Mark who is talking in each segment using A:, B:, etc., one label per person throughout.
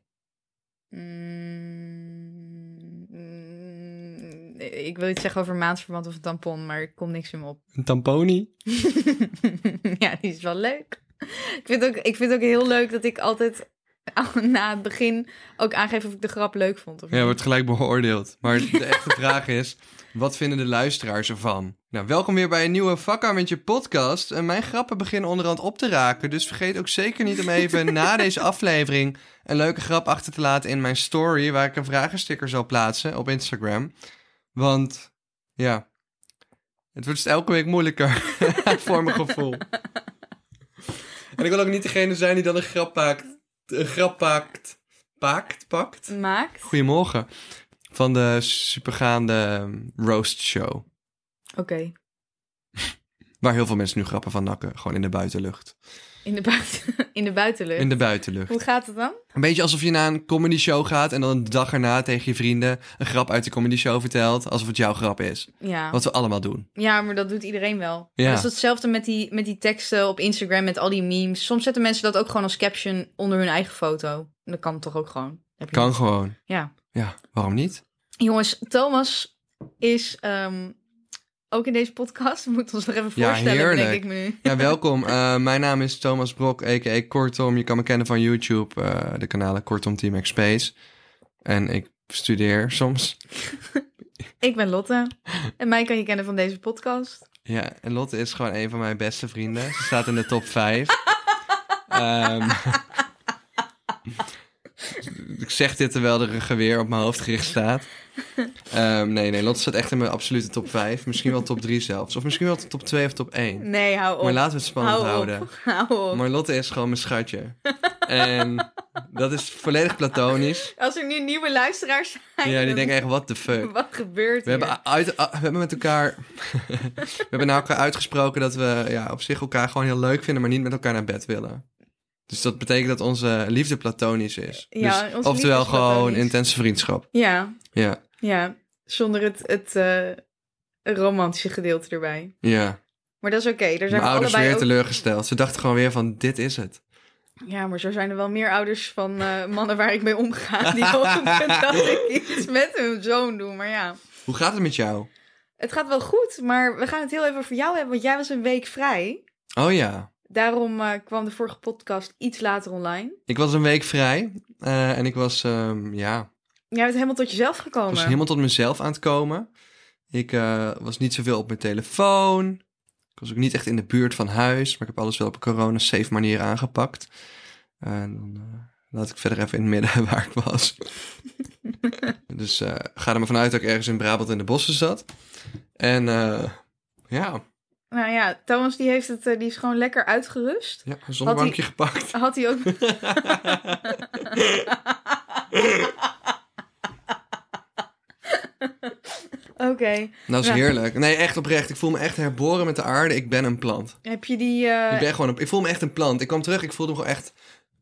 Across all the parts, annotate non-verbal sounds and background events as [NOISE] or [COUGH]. A: Mm, mm, ik wil iets zeggen over maandverband of een tampon, maar er komt niks in me op. [LAUGHS]
B: Een tamponie?
A: ja, die is wel leuk. Ik vind, ook, ik vind ook heel leuk dat ik altijd [LAUGHS] al- na het begin ook aangeef of ik de grap leuk vond. Of
B: Ja,
A: niet.
B: wordt gelijk beoordeeld. Maar de echte [LAUGHS] vraag is, wat vinden de luisteraars ervan? Nou, welkom weer bij een nieuwe Vakka met je podcast. En mijn grappen beginnen onderhand op te raken. Dus vergeet ook zeker niet om even
A: [LAUGHS]
B: na deze aflevering een leuke grap achter te laten in mijn story... waar ik een vragensticker zal plaatsen op Instagram. Want, ja, het wordt dus elke week moeilijker [LAUGHS] voor mijn gevoel. En ik wil ook niet degene zijn die dan een grap paakt. Een grap paakt. Paakt, pakt.
A: Maakt.
B: Goedemorgen. Van de supergaande ehm, roast show.
A: Oké,
B: Waar heel veel mensen nu grappen van nakken. Gewoon in de buitenlucht.
A: in, de buiten, [LAUGHS] in de buitenlucht.
B: In de buitenlucht.
A: Hoe gaat het dan?
B: Een beetje alsof je naar een comedy show gaat en dan de dag erna tegen je vrienden een grap uit de comedy show vertelt. Alsof het jouw grap is.
A: Ja.
B: Wat we allemaal doen.
A: ja, maar dat doet iedereen wel.
B: Ja.
A: Dat is hetzelfde met die, met die teksten op Instagram, met al die memes. Soms zetten mensen dat ook gewoon als caption onder hun eigen foto. En dat kan toch ook gewoon. Heb je
B: Kan gewoon.
A: Ja.
B: Ja, waarom niet?
A: Jongens, Thomas is ehm, ook in deze podcast. [LAUGHS] We moeten ons nog even
B: Ja,
A: voorstellen,
B: heerlijk.
A: denk ik me nu.
B: Ja, welkom. Eh, mijn naam is Thomas Brok, a.k.a. Kortom. Je kan me kennen van YouTube, eh, de kanalen Kortom Team X Space. En ik studeer soms.
A: Ik ben
B: [LAUGHS]
A: Lotte. En mij kan je kennen van deze podcast.
B: Ja, en Lotte is gewoon een van mijn beste vrienden. Ze staat in de top
A: [LAUGHS]
B: 5. Ehm, [LAUGHS] ik zeg dit terwijl er een geweer op mijn hoofd gericht staat. Ehm, nee, nee, Lotte staat echt in mijn absolute top 5. Misschien wel top 3 zelfs. Of misschien wel top 2 of top 1.
A: Nee, hou op.
B: Maar laten we het spannend
A: Hou op.
B: houden.
A: [LAUGHS] Hou op.
B: Maar Lotte is gewoon mijn schatje. En dat is volledig platonisch.
A: Als er nu nieuwe luisteraars [LAUGHS] zijn,
B: Ja, die
A: dan-
B: denken echt, what the fuck.
A: wat gebeurt
B: We
A: er?
B: hebben, uit, a- we hebben met
A: [LAUGHS]
B: elkaar. we hebben naar elkaar uitgesproken dat we ja, op zich elkaar gewoon heel leuk vinden, maar niet met elkaar naar bed willen. Dus dat betekent dat onze liefde platonisch is.
A: Ja,
B: dus,
A: onze
B: oftewel
A: liefde is
B: gewoon
A: platonisch.
B: intense vriendschap.
A: Ja,
B: Ja,
A: ja. Zonder het, het eh, romantische gedeelte erbij.
B: ja.
A: Maar dat is oké. Daar zijn
B: Mijn
A: we
B: ouders
A: allebei
B: weer
A: ook...
B: teleurgesteld. Ze dachten gewoon weer van, dit is het.
A: Ja, maar zo zijn er wel meer ouders van eh, mannen waar ik mee omga. [LAUGHS] Die hopen
B: [LAUGHS]
A: dat ik iets met hun zoon doe. Maar ja,
B: Hoe gaat het met jou?
A: het gaat wel goed. Maar we gaan het heel even over jou hebben. Want jij was een week vrij.
B: Oh ja,
A: Daarom eh, kwam de vorige podcast iets later online.
B: ik was een week vrij. eh, en ik was, ehm, ja,
A: Jij bent helemaal tot jezelf gekomen.
B: Ik was helemaal tot mezelf aan het komen. Ik eh, was niet zoveel op mijn telefoon. Ik was ook niet echt in de buurt van huis. Maar ik heb alles wel op een corona-safe manier aangepakt. En dan eh, laat ik verder even in het midden [LAUGHS] waar ik was. dus eh, ga er maar vanuit dat ik ergens in Brabant in de bossen zat. En eh, ja,
A: Nou ja, Thomas die, heeft het, eh, die is gewoon lekker uitgerust.
B: ja een zonnebankje
A: [LAUGHS]
B: gepakt.
A: Had hij ook... Oké.
B: Dat is
A: Ja.
B: heerlijk. Nee, echt oprecht. Ik voel me echt herboren met de aarde. Ik ben een plant.
A: Heb je die... eh,
B: Ik, ben gewoon een, ik voel me echt een plant. Ik kwam terug, ik voelde me gewoon echt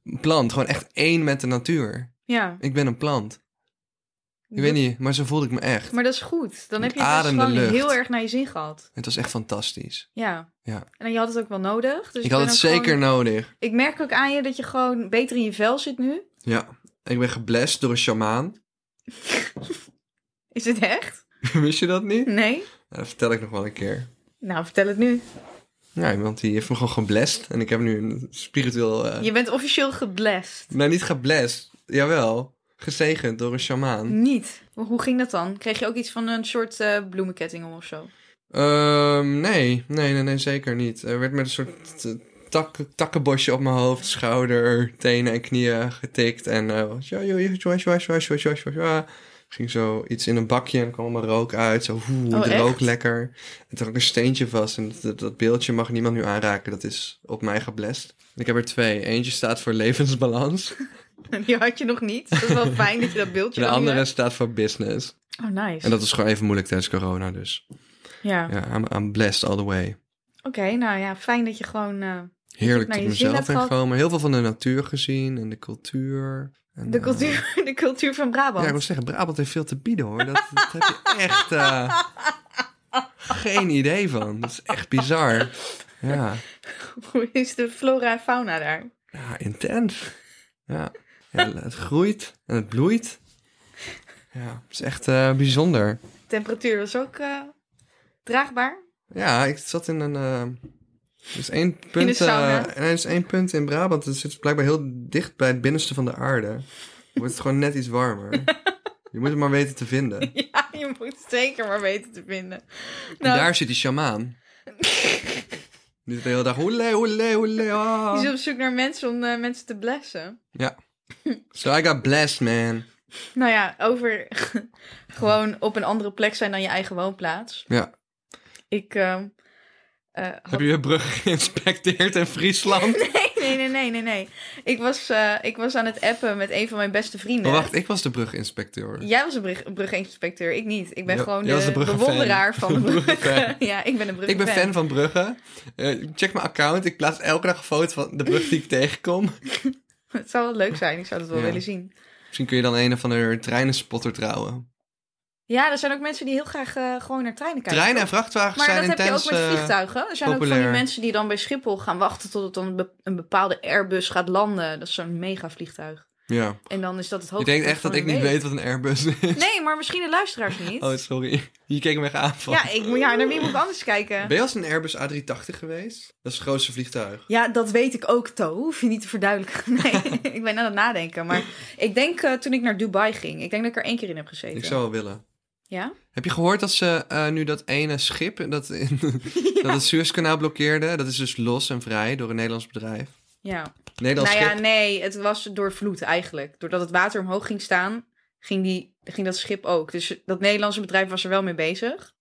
B: een plant. Gewoon echt één met de natuur.
A: Ja.
B: Ik ben een plant. Ik weet niet, maar zo voelde ik me echt.
A: Dus- Maar dat is goed. Dan heb je
B: Met
A: het dus
B: ademende
A: gewoon
B: lucht.
A: heel erg naar je zin gehad.
B: Het was echt fantastisch.
A: Ja.
B: Ja.
A: En je had het ook wel nodig. Dus
B: ik had
A: ben
B: het
A: ook
B: zeker
A: gewoon-
B: nodig.
A: Ik merk ook aan je dat je gewoon beter in je vel zit nu.
B: Ja. Ik ben geblest door een sjamaan.
A: Is het echt?
B: [LAUGHS] Wist je dat niet?
A: Nee?
B: Nou, dat vertel ik nog wel een keer.
A: Nou, vertel het nu.
B: Ja, iemand die heeft me gewoon geblest. En ik heb nu een spiritueel... eh,
A: Je bent officieel geblest.
B: Nou, niet geblest. Jawel. Gezegend door een sjamaan.
A: Niet. Maar Hoe ging dat dan? Kreeg je ook iets van een soort eh, bloemenketting om of zo?
B: Ehm, nee. nee, nee, nee, zeker niet. Er werd met een soort eh, tak, takkenbosje op mijn hoofd, schouder, tenen en knieën getikt. En eh, was ja, joh, joh, joh, joh, joh, joh, joh, joh, joh. ging zo iets in een bakje en kwam allemaal rook uit. Zo, hoe,
A: Oh,
B: de
A: echt?
B: rook lekker. En toen had ik een steentje vast. En dat, dat beeldje mag niemand
A: [LAUGHS]
B: nu aanraken. Dat is op mij geblest. En Ik heb er twee. Eentje staat voor levensbalans.
A: Die had je nog niet. Dat is
B: [LAUGHS]
A: wel fijn dat je dat beeldje
B: De
A: dan
B: andere
A: hebt.
B: staat voor business.
A: Oh, nice.
B: En dat is gewoon even moeilijk tijdens corona, dus.
A: Ja.
B: Ja, I'm, I'm blessed all the way.
A: Oké, nou ja, fijn dat je gewoon... eh,
B: Heerlijk
A: Nou,
B: tot
A: je zin
B: mezelf
A: hebt
B: ben
A: gehad.
B: gekomen. Heel veel van de natuur gezien en de cultuur. En,
A: de,
B: eh,
A: cultuur, [LAUGHS] de cultuur van Brabant.
B: ja, ik wil zeggen, Brabant heeft veel te bieden hoor. Dat, dat heb je echt
A: [LAUGHS]
B: eh, geen idee van. Dat is echt bizar. Ja,
A: [LAUGHS] Hoe is de flora en fauna daar?
B: ja intens. Ja. ja, het groeit en het bloeit. Ja, het is echt eh, bijzonder.
A: Temperatuur was ook eh, draagbaar. [LAUGHS]
B: Ja, ik zat in een. eh, er is één punt. eh,
A: sauna?
B: nee, er is één punt in Brabant. Het zit blijkbaar heel dicht bij het binnenste van de aarde. Wordt het gewoon net iets warmer. Je moet het maar weten te vinden.
A: Ja, je moet het zeker maar weten te vinden.
B: En
A: [LAUGHS] Nou,
B: daar zit die
A: [LAUGHS]
B: sjamaan. Die zit de hele dag. Hoele, hoele, hoele. ah."
A: je is op zoek naar mensen om eh, mensen te blessen.
B: Ja. So I got blessed, man.
A: Nou ja, over [LAUGHS] gewoon op een andere plek zijn dan je eigen woonplaats.
B: Ja.
A: Ik eh, eh,
B: Heb je weer brug geïnspecteerd in Friesland?
A: Nee, nee, nee, nee, nee. Ik was, eh, ik was aan het appen met een van mijn beste vrienden.
B: Maar wacht, ik was de bruginspecteur.
A: Jij was een brug, bruginspecteur, ik niet. Ik ben
B: Ja,
A: gewoon
B: jij was
A: de,
B: de bruggenfan. [LAUGHS]
A: bewonderaar van de bruggen.
B: Bruggenfan.
A: [LAUGHS] ja, ik ben een
B: Ik
A: bruggenfan.
B: ben fan van bruggen. Eh, check mijn account. Ik plaats elke dag een foto van de brug die ik tegenkom.
A: Het zou wel leuk zijn, ik zou dat wel
B: Ja.
A: willen zien.
B: Misschien kun je dan een of andere treinenspotter trouwen.
A: Ja, er zijn ook mensen die heel graag eh, gewoon naar treinen kijken.
B: Treinen en vrachtwagens
A: maar
B: zijn
A: dat heb je
B: intens...
A: ook met
B: eh,
A: vliegtuigen. Er zijn ook van
B: populair.
A: die mensen die dan bij Schiphol gaan wachten tot het dan be- een bepaalde Airbus gaat landen. Dat is zo'n mega vliegtuig.
B: ja.
A: En dan is dat het
B: Je
A: hoogtepunt
B: denkt echt
A: van
B: dat ik
A: hun
B: niet
A: week.
B: weet wat een Airbus is.
A: Nee, maar misschien de luisteraars niet.
B: [LAUGHS] Oh, sorry. Je keek me echt aan van.
A: ja, ik, moet- ja, naar wie moet ik anders kijken?
B: Ben je als een Airbus A380 geweest? Dat is het grootste vliegtuig.
A: Ja, dat weet ik ook, To. [LAUGHS] Hoef je niet te verduidelijken. [LAUGHS] Nee, ik ben aan het nadenken. Maar ik denk eh, toen ik naar Dubai ging, ik denk dat ik er één keer in heb gezeten.
B: Ik zou wel willen.
A: Ja?
B: Heb je gehoord dat ze eh, nu dat ene schip dat,
A: [LAUGHS]
B: [LAUGHS] dat het Suezkanaal blokkeerde? Dat is dus los en vrij door een Nederlands bedrijf.
A: Ja.
B: Nederlands
A: Nou ja,
B: schip.
A: nee, het was door vloed eigenlijk. Doordat het water omhoog ging staan, ging, die, ging dat schip ook. Dus dat Nederlandse bedrijf was er wel mee bezig.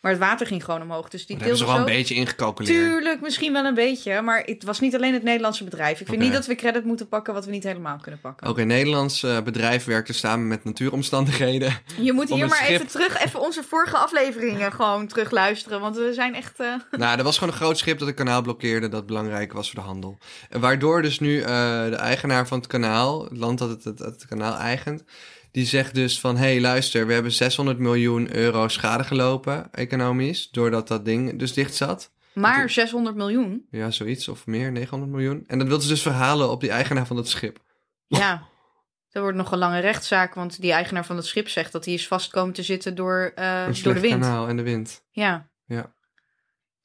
A: Maar het water ging gewoon omhoog. Dus die
B: Oh, Daar hebben ze
A: deelde
B: wel een
A: zo-
B: beetje ingecalculeerd.
A: Tuurlijk, misschien wel een beetje. Maar het was niet alleen het Nederlandse bedrijf. Ik vind
B: Oké.
A: niet dat we credit moeten pakken wat we niet helemaal kunnen pakken.
B: Ook een Nederlands eh, bedrijf werkte samen met natuuromstandigheden.
A: Je moet
B: Om
A: hier
B: het
A: maar
B: schip-
A: even terug, even onze vorige afleveringen gewoon terugluisteren. Want we zijn echt. eh,
B: Nou, er was gewoon een groot schip dat het kanaal blokkeerde dat belangrijk was voor de handel. En Waardoor dus nu eh, de eigenaar van het kanaal, het land dat het, het, het kanaal eigent, die zegt dus van, hé hey, luister, we hebben 600 miljoen euro schade gelopen, economisch, doordat dat ding dus dicht zat.
A: Maar 600 miljoen.
B: Ja, zoiets, of meer, 900 miljoen. En dat wil ze dus verhalen op die eigenaar van dat
A: Eh,
B: schip.
A: Ja. Dat wordt nog een lange rechtszaak, want die eigenaar van het schip zegt dat hij is vast komen te zitten door, eh,
B: Een
A: door de
B: slecht
A: wind.
B: kanaal en de wind.
A: Ja.
B: Ja.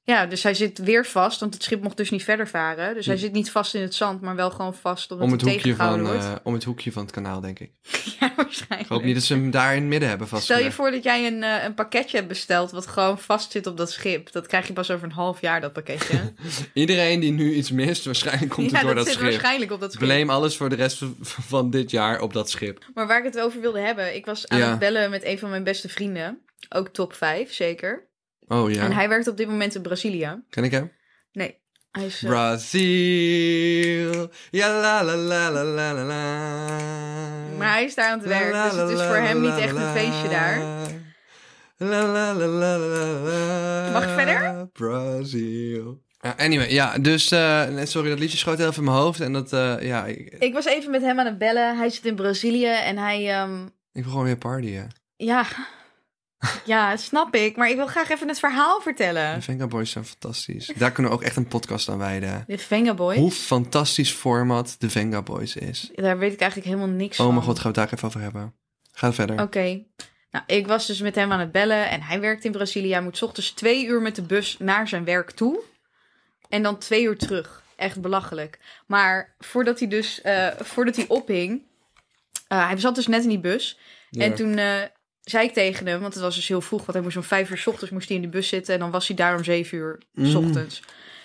A: Ja, dus hij zit weer vast, want het schip mocht dus niet verder varen. Dus hij
B: Hm.
A: zit niet vast in het zand, maar wel gewoon vast omdat
B: Om het,
A: hij
B: hoekje van,
A: tegengehouden wordt.
B: eh, om het hoekje van het kanaal, denk ik.
A: [LAUGHS] ja,
B: Ik
A: waarschijnlijk.
B: hoop niet dat ze hem daar in het midden hebben
A: Stel je
B: vastgelegd.
A: voor dat jij een, eh, een pakketje hebt besteld wat gewoon vast zit op dat schip. Dat krijg je pas over een half jaar, dat pakketje.
B: Iedereen die nu iets mist, waarschijnlijk komt
A: ja,
B: het door dat,
A: zit
B: schip.
A: waarschijnlijk op dat schip.
B: Blame alles voor de rest van- van dit jaar op dat schip.
A: Maar waar ik het over wilde hebben, ik was aan
B: Ja.
A: het bellen met een van mijn beste vrienden. Ook top 5, zeker.
B: Oh ja.
A: En hij werkt op dit moment in Brazilië.
B: Ken ik hem?
A: Nee, hij is. eh,
B: Brazil. Ja la la la la la la la.
A: maar hij is daar aan het werk.
B: La,
A: Dus
B: la,
A: het is
B: la,
A: voor hem
B: la,
A: niet echt een
B: la,
A: feestje daar.
B: La la la la la la.
A: Mag ik verder?
B: Brazil. Ja, anyway, ja, dus eh, nee, sorry, dat liedje schoot heel even in mijn hoofd. En dat, eh, ja, ik, ik
A: Ik was even met hem aan het bellen. Hij zit in Brazilië en hij. ehm,
B: wil gewoon weer partyen. [LAUGHS]
A: ja. Ja, snap ik. Maar ik wil graag even het verhaal
B: De
A: vertellen.
B: Venga Boys zijn fantastisch. Daar kunnen we ook echt een podcast aan wijden.
A: De Venga Boys.
B: Hoe fantastisch format de Venga Boys is.
A: Daar weet ik eigenlijk helemaal niks
B: Oh
A: van.
B: mijn god, gaan we het daar even over hebben. Ga verder.
A: Oké. Nou, ik was dus met hem aan het bellen en hij werkt in Brazilië. Hij moet 's ochtends twee uur met de bus naar zijn werk toe. En dan twee uur terug. Echt belachelijk. Maar voordat hij dus, eh, voordat hij ophing, eh, hij zat dus net in die bus. En toen eh, zei ik tegen hem, want het was dus heel vroeg, want hij moest om vijf uur 's ochtends moest hij in die bus zitten. En dan was hij daar om zeven uur 's
B: Mm.
A: ochtends.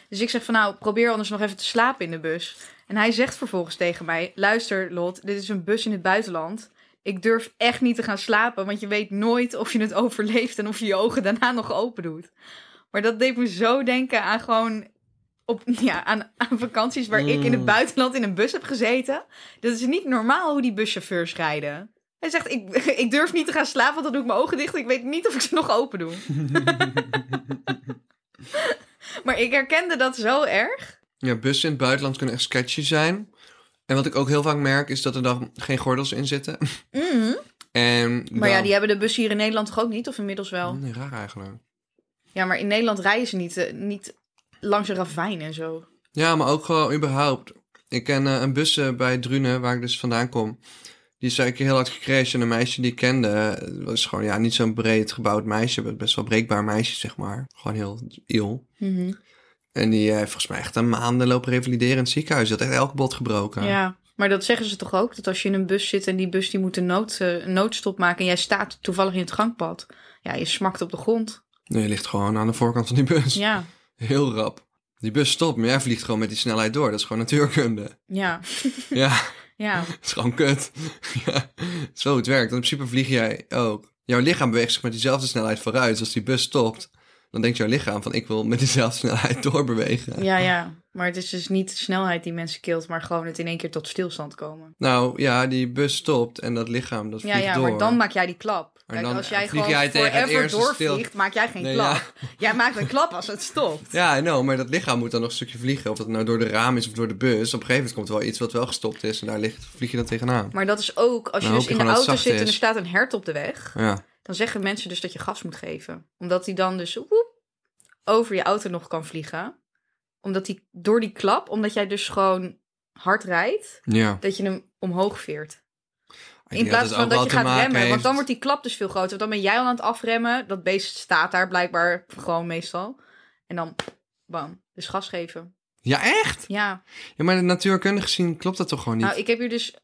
A: Dus ik zeg van nou, probeer anders nog even te slapen in de bus. En hij zegt vervolgens tegen mij, luister Lot, dit is een bus in het buitenland. Ik durf echt niet te gaan slapen, want je weet nooit of je het [LAUGHS] overleeft en of je je ogen daarna nog open doet. Maar dat deed me zo denken aan gewoon op, [LAUGHS] ja, aan, aan vakanties waar ik in het
B: Mm.
A: buitenland in een bus heb gezeten. Dat is niet normaal hoe die buschauffeurs rijden. Hij zegt, ik, [LAUGHS] ik durf niet te gaan slapen, want dan doe ik mijn ogen dicht. Ik weet niet of ik ze nog open doe. maar ik herkende dat zo erg.
B: Ja, bussen in het buitenland kunnen echt sketchy zijn. En wat ik ook heel vaak merk, is dat er dan geen gordels in zitten. [LAUGHS]
A: Mhm.
B: En
A: Maar ja,
B: dan- Oh,
A: die hebben de bus hier in Nederland toch ook niet? Of inmiddels wel?
B: Nee, raar eigenlijk.
A: Ja, maar in Nederland rijden ze niet, eh, niet langs een ravijn en zo.
B: Ja, maar ook gewoon überhaupt. Ik ken eh, een bus eh, bij Drunen, waar ik dus vandaan kom. Die is een keer heel hard gecrashed en een meisje die ik kende... eh, was gewoon ja, niet zo'n breed gebouwd meisje, maar best wel breekbaar meisje, zeg maar. Gewoon heel iel. En die eh, heeft volgens mij echt een maanden lopen revalideren in het ziekenhuis. Die had echt elke bot gebroken.
A: Ja, maar dat zeggen ze toch ook? Dat als je in een bus zit en die bus die moet een, nood, eh, een noodstop maken... en jij staat toevallig in het gangpad. Ja, je smakt op de grond.
B: Nee, je ligt gewoon aan de voorkant van die bus.
A: Ja,
B: Heel rap. Die bus stopt, maar jij vliegt gewoon met die snelheid door. Dat is gewoon
A: [LAUGHS]
B: natuurkunde.
A: ja,
B: Ja.
A: ja.
B: Het is gewoon kut. [LAUGHS] ja, zo het werkt. Want in principe vlieg jij ook. Jouw lichaam beweegt zich met diezelfde snelheid vooruit. Dus als die bus stopt, dan denkt jouw lichaam van ik wil met diezelfde [LAUGHS] snelheid doorbewegen.
A: Ja, ja. Maar het is dus niet de snelheid die mensen kilt... maar gewoon het in één keer tot stilstand komen.
B: Nou ja, die bus stopt en dat lichaam dat
A: Ja,
B: vliegt
A: ja,
B: door.
A: maar dan maak jij die klap. Kijk,
B: dan
A: als jij
B: vlieg
A: gewoon
B: jij tegen het
A: forever
B: eerste stil-
A: doorvliegt, maak jij geen
B: Nee,
A: klap.
B: ja.
A: Jij maakt een klap als het stopt.
B: Ja, nou, maar dat lichaam moet dan nog een stukje vliegen. Of dat nou door de raam is of door de bus. Op een gegeven moment komt er wel iets wat wel gestopt is. En daar ligt, vlieg je dan tegenaan.
A: Maar dat is ook als je
B: Dan
A: dus
B: hoop
A: in
B: je
A: de
B: gewoon dat
A: auto
B: het
A: zit
B: zacht
A: en er
B: is.
A: staat een hert op de weg.
B: Ja.
A: Dan zeggen mensen dus dat je gas moet geven. Omdat hij dan dus woep, over je auto nog kan vliegen. Omdat die door die klap, omdat jij dus gewoon hard rijdt,
B: ja.
A: dat je hem omhoog veert.
B: Ik
A: in
B: denk
A: plaats
B: het
A: van
B: ook
A: dat
B: wel
A: je
B: te
A: gaat
B: maken
A: remmen. Want dan
B: heeft-
A: wordt die klap dus veel groter. Want dan ben jij al aan het afremmen. Dat beest staat daar blijkbaar gewoon meestal. En dan bam. Dus gas geven.
B: Ja, echt?
A: Ja.
B: Ja, maar natuurkundig gezien klopt dat toch gewoon niet?
A: Nou, ik heb hier dus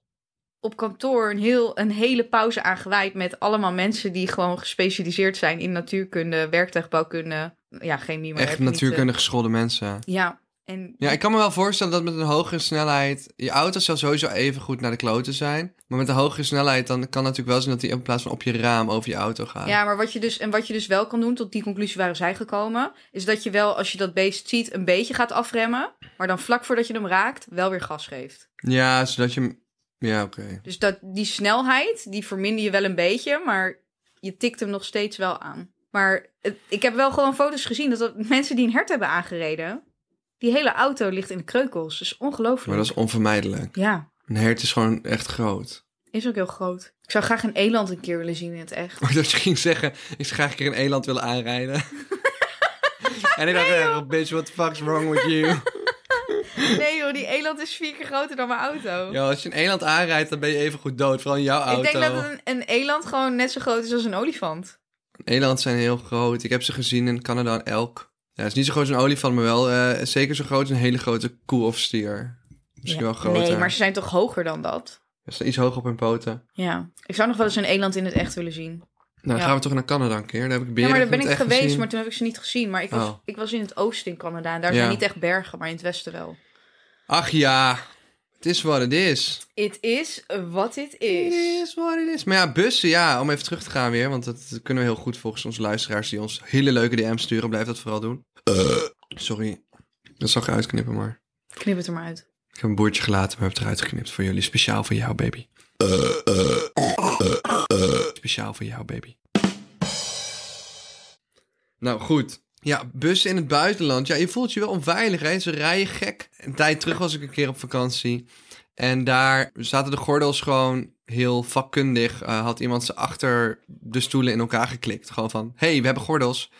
A: op kantoor een, heel, een hele pauze aan gewijd met allemaal mensen die gewoon gespecialiseerd zijn in natuurkunde, werktuigbouwkunde, ja, chemie, maar
B: echt
A: heb je niet,
B: natuurkundig geschoolde mensen.
A: eh, ja, en
B: Ja, ik kan me wel voorstellen dat met een hogere snelheid... Je auto zou sowieso even goed naar de kloten zijn. Maar met een hogere snelheid dan kan het natuurlijk wel zijn... dat die in plaats van op je raam over je auto gaat.
A: Ja, maar wat je dus en wat je dus wel kan doen, tot die conclusie waren zij gekomen, is dat je wel als je dat beest ziet een beetje gaat afremmen, maar dan vlak voordat je hem raakt wel weer gas geeft.
B: Ja, zodat je... hem- Ja, oké.
A: Dus dat die snelheid die verminder je wel een beetje, maar je tikt hem nog steeds wel aan. Maar het- ik heb wel gewoon foto's gezien dat, dat mensen die een hert hebben aangereden, die hele auto ligt in de kreukels. Dat is ongelooflijk.
B: Maar dat is onvermijdelijk.
A: Ja,
B: Een hert is gewoon echt groot. [LAUGHS]
A: is ook heel groot. Ik zou graag een eland een keer willen zien in het echt.
B: Maar dat je ging zeggen... Ik zou graag een keer een eland willen aanrijden. en ik dacht, eh, bitch, what the fuck's wrong with
A: [LAUGHS]
B: you?
A: [LAUGHS] Nee joh, die eland is vier keer groter dan mijn auto.
B: Ja, als je een eland aanrijdt, dan ben je even goed dood. Vooral in jouw auto.
A: Ik denk dat een, een eland gewoon net zo groot is als een olifant.
B: Eland zijn heel groot. Ik heb ze gezien in Canada, een elk. Ja, het is niet zo groot als een olifant, maar wel eh, zeker zo groot als een hele grote koe of stier. Misschien wel groter.
A: Nee, maar ze zijn toch hoger dan dat?
B: Ze staan iets hoog op hun poten.
A: Ja, ik zou nog wel eens een eland in het echt willen zien.
B: Nou, dan
A: Ja.
B: gaan we toch naar Canada een keer. Daar heb ik
A: Ja,
B: beren
A: maar daar
B: in
A: ben
B: het
A: ik
B: echt
A: geweest,
B: gezien.
A: maar toen heb ik ze niet gezien. Maar ik was,
B: Oh.
A: ik was in het oosten in Canada en daar
B: Ja.
A: zijn niet echt bergen, maar in het westen wel.
B: Ach ja, het is wat het is.
A: Het is wat het
B: Het
A: is.
B: is wat het is. Maar ja, bussen, ja, om even terug te gaan weer. Want dat kunnen we heel goed volgens onze luisteraars die ons hele leuke DM's sturen. Blijf dat vooral doen. Eh, Sorry, dat zal ik uitknippen, maar...
A: Knip het er maar uit.
B: Ik heb een boertje gelaten, maar heb het eruit geknipt voor jullie. Speciaal voor jou, baby. Speciaal voor jou, baby. Nou, goed. Ja, bussen in het buitenland. Ja, je voelt je wel onveilig, hè? Ze rijden gek. Een tijd terug was ik een keer op vakantie. En daar zaten de gordels gewoon heel vakkundig. Eh, had iemand ze achter de stoelen in elkaar geklikt. Gewoon van, hey, we hebben gordels.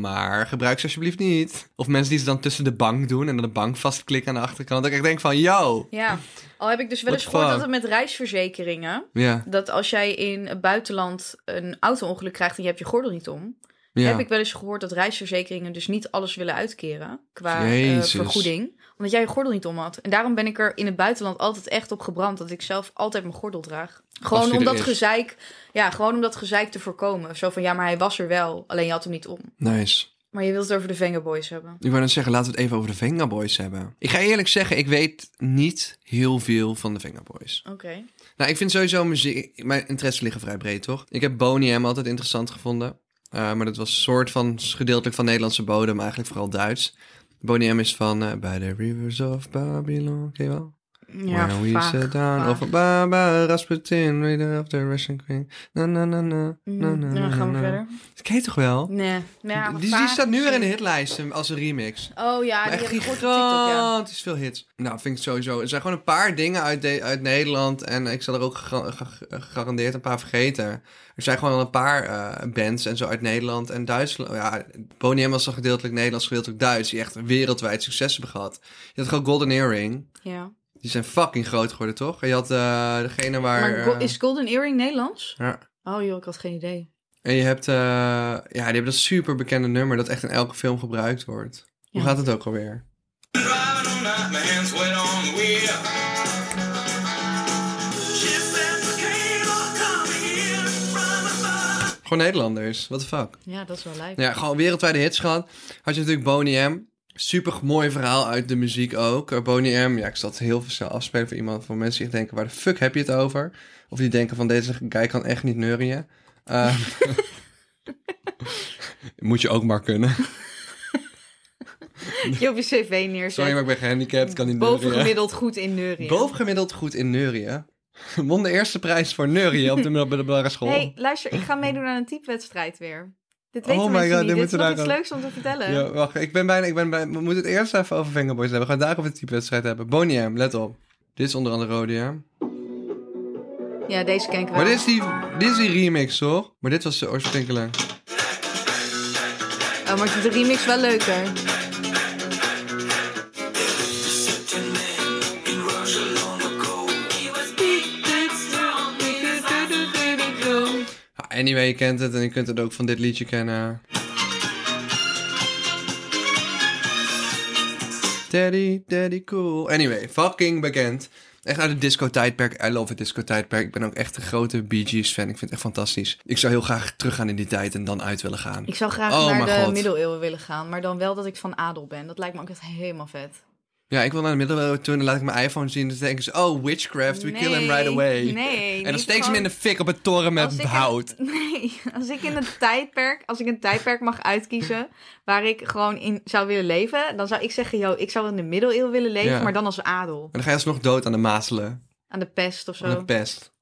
B: Maar gebruik ze alsjeblieft niet. Of mensen die ze dan tussen de bank doen en dan de bank vastklikken aan de achterkant. Dat ik echt denk van, yo.
A: Ja, al heb ik dus wel
B: What
A: eens gehoord
B: the
A: dat het met reisverzekeringen...
B: Ja,
A: dat als jij in het buitenland een auto-ongeluk krijgt en je hebt je gordel niet om...
B: ja.
A: heb ik wel eens gehoord dat reisverzekeringen dus niet alles willen uitkeren... qua eh,
B: Jezus.
A: vergoeding, omdat jij je gordel niet om had. En daarom ben ik er in het buitenland altijd echt op gebrand... dat ik zelf altijd mijn gordel draag.
B: Als
A: Gewoon
B: die
A: om
B: er
A: dat
B: is.
A: gezeik... Ja, gewoon om dat gezeik te voorkomen. Zo van, ja, maar hij was er wel, alleen je had hem niet om.
B: Nice.
A: Maar je wilt het over de Vengaboys hebben.
B: Ik wou net zeggen, laten we het even over de Vengaboys hebben. Ik ga eerlijk zeggen, ik weet niet heel veel van de Vengaboys.
A: Oké.
B: Nou, ik vind sowieso muziek... Mijn interesses liggen vrij breed, toch? Ik heb Boney M altijd interessant gevonden. Eh, maar dat was soort van gedeeltelijk van Nederlandse bodem, maar eigenlijk vooral Duits. Bonnie M is van eh, By the Rivers of Babylon. Ken je wel?
A: Ja,
B: Where we
A: vaak,
B: sit down.
A: vaak.
B: Of Baba Rasputin, Reader of the Russian Queen. Na na na na.
A: Mm,
B: na, na,
A: ja,
B: na,
A: dan gaan we
B: na.
A: verder.
B: Dat ken je toch wel?
A: Nee. Ja, maar
B: die, die
A: vaak
B: staat nu weer in de
A: misschien.
B: hitlijst eh, als een remix.
A: Oh ja,
B: Maar
A: die
B: echt
A: heb ik gehoord op TikTok, ja.
B: gigantisch veel hits. Nou, vind ik het sowieso. Er zijn gewoon een paar dingen uit, de- uit Nederland. En ik zal er ook gega- ge- gegarandeerd een paar vergeten. Er zijn gewoon al een paar eh, bands en zo uit Nederland en Duitsland. Ja, Boney M was dan gedeeltelijk Nederlands, gedeeltelijk Duits. Die echt wereldwijd succes hebben gehad. Je had gewoon Golden Earring.
A: ja.
B: Die zijn fucking groot geworden, toch? En je had eh, degene waar...
A: Maar go-
B: eh,
A: is Golden Earring Nederlands?
B: ja.
A: Oh joh, ik had geen idee.
B: En je hebt... eh, ja, die hebben dat super bekende nummer dat echt in elke film gebruikt wordt. Hoe
A: Ja.
B: gaat het ook alweer?
C: Driving all night, my hands wet on the wheel. She said, "Came on, come here from above."
B: Gewoon Nederlanders. What the fuck?
A: Ja, dat is wel lijp.
B: Ja, gewoon wereldwijde hits gehad. Had je natuurlijk Boney M. Super mooi verhaal uit de muziek ook. Eh, Boney M, ja, ik zal het heel snel afspelen voor iemand. Voor mensen die echt denken, waar de fuck heb je het over? Of die denken van, deze guy kan echt niet neurien.
A: [LAUGHS]
B: Eh, [LAUGHS] moet je ook maar kunnen.
A: Je op je cv neerzet.
B: Sorry, maar ik ben gehandicapt, kan niet neurien.
A: Bovengemiddeld goed in neurien.
B: Bovengemiddeld goed in neurien. [LAUGHS] Won de eerste prijs voor neurien op de [LAUGHS] middelbare school.
A: hey, luister, ik ga meedoen aan een typewedstrijd weer. Dit
B: Oh
A: weten
B: my
A: mensen
B: God,
A: niet.
B: dit
A: Dit is
B: moeten we
A: nog iets
B: daar gaan-
A: leuks om te vertellen.
B: Ja, wacht, ik ben bijna, ik ben bijna, we moeten het eerst even over Fingerboys hebben. We gaan daarover de typewedstrijd hebben. Boney M, let op. Dit is onder andere Rodium.
A: Ja, deze ken ik wel.
B: Maar dit is, die, dit is die remix, toch? Maar dit was de oorspronkelijke.
A: Oh, maar ik vind de remix wel leuker.
B: Ah, Anyway, je kent het en je kunt het ook van dit liedje kennen. Daddy, daddy cool. Anyway, fucking bekend. Echt uit het disco-tijdperk. I love het disco-tijdperk. Ik ben ook echt een grote Bee Gees fan. Ik vind het echt fantastisch. Ik zou heel graag teruggaan in die tijd en dan uit willen gaan.
A: Ik zou graag
B: Oh,
A: naar
B: mijn
A: de
B: God.
A: middeleeuwen willen gaan, maar dan wel dat ik van adel ben. Dat lijkt me ook echt helemaal vet.
B: Ja, ik wil naar de middeleeuwen toe en dan laat ik mijn iPhone zien. En dan denken ze, oh, witchcraft, we kill him right away.
A: Nee.
B: en dan steek ze hem in de fik op een toren met hout.
A: [LAUGHS] nee, als ik in een tijdperk, als ik een tijdperk mag uitkiezen waar ik gewoon in zou willen leven, dan zou ik zeggen, yo, ik zou wel in de middeleeuwen willen leven,
B: Ja.
A: maar dan als adel.
B: En dan ga je alsnog dood aan de mazelen.
A: Aan de pest of zo.
B: Aan de pest. Dan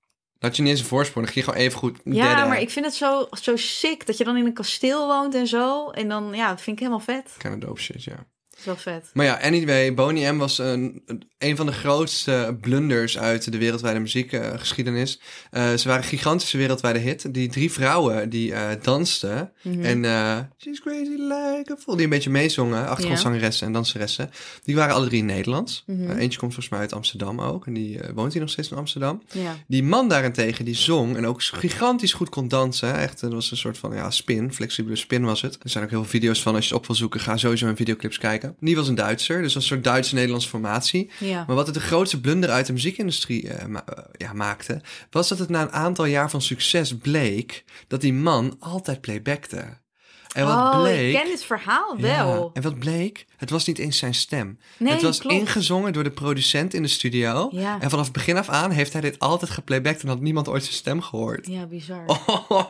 B: had je niet eens een voorsprong. Dan ging je gewoon even goed
A: Ja,
B: deaden.
A: maar ik vind het zo, zo sick dat je dan in een kasteel woont en zo. En dan, ja, dat vind ik helemaal vet.
B: Kind of dope shit, ja.
A: Dat is wel vet.
B: Maar ja, anyway, Boney M was een, een van de grootste blunders uit de wereldwijde muziekgeschiedenis. Eh, ze waren een gigantische wereldwijde hit. Die drie vrouwen die eh, dansten
A: Mhm.
B: en eh, She's Crazy Like a Fool, die een beetje meezongen, achtergrondzangeressen en danseressen, die waren alle drie Nederlands.
A: Mhm.
B: Eh, eentje komt volgens mij uit Amsterdam ook en die eh, woont hier nog steeds in Amsterdam.
A: Ja.
B: Die man daarentegen, die zong en ook gigantisch goed kon dansen. Echt, dat was een soort van ja, spin, flexibele spin was het. Er zijn ook heel veel video's van, als je het op wil zoeken, ga sowieso in videoclips kijken. Die was een Duitser, dus een soort Duits-Nederlandse formatie.
A: Ja.
B: Maar wat het de grootste blunder uit de muziekindustrie eh, ma- eh, ja, maakte, was dat het na een aantal jaar van succes bleek dat die man altijd playbackte. En wat
A: oh,
B: bleek...
A: ik ken dit verhaal
B: Ja,
A: wel.
B: En wat bleek? Het was niet eens zijn stem.
A: Nee,
B: het was
A: klopt.
B: ingezongen door de producent in de studio.
A: Ja.
B: En vanaf begin af aan heeft hij dit altijd geplaybacked en had niemand ooit zijn stem gehoord.
A: Ja, bizar.
B: [LAUGHS] Oh.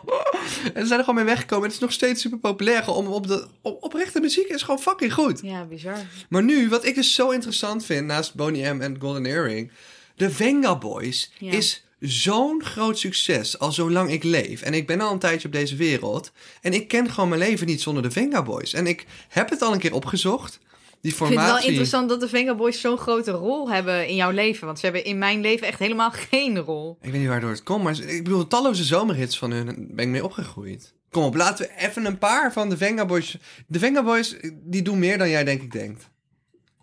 B: en ze zijn er gewoon mee weggekomen. Het is nog steeds super populair. Om, op de, op, oprechte muziek is gewoon fucking goed.
A: Ja, bizar.
B: Maar nu, wat ik dus zo interessant vind naast Boney M en Golden Earring. De Venga Boys
A: Ja.
B: is zo'n groot succes al zolang ik leef. En ik ben al een tijdje op deze wereld. En ik ken gewoon mijn leven niet zonder de Venga Boys. En ik heb het al een keer opgezocht. Die
A: Ik vind
B: formatie.
A: het wel interessant dat de Venga Boys zo'n grote rol hebben in jouw leven. Want ze hebben in mijn leven echt helemaal [LAUGHS] geen rol.
B: Ik weet niet waardoor het komt, maar ik bedoel, talloze zomerhits van hun ben ik mee opgegroeid. Kom op, laten we even een paar van de Venga Boys. De Venga Boys, die doen meer dan jij denk ik denkt.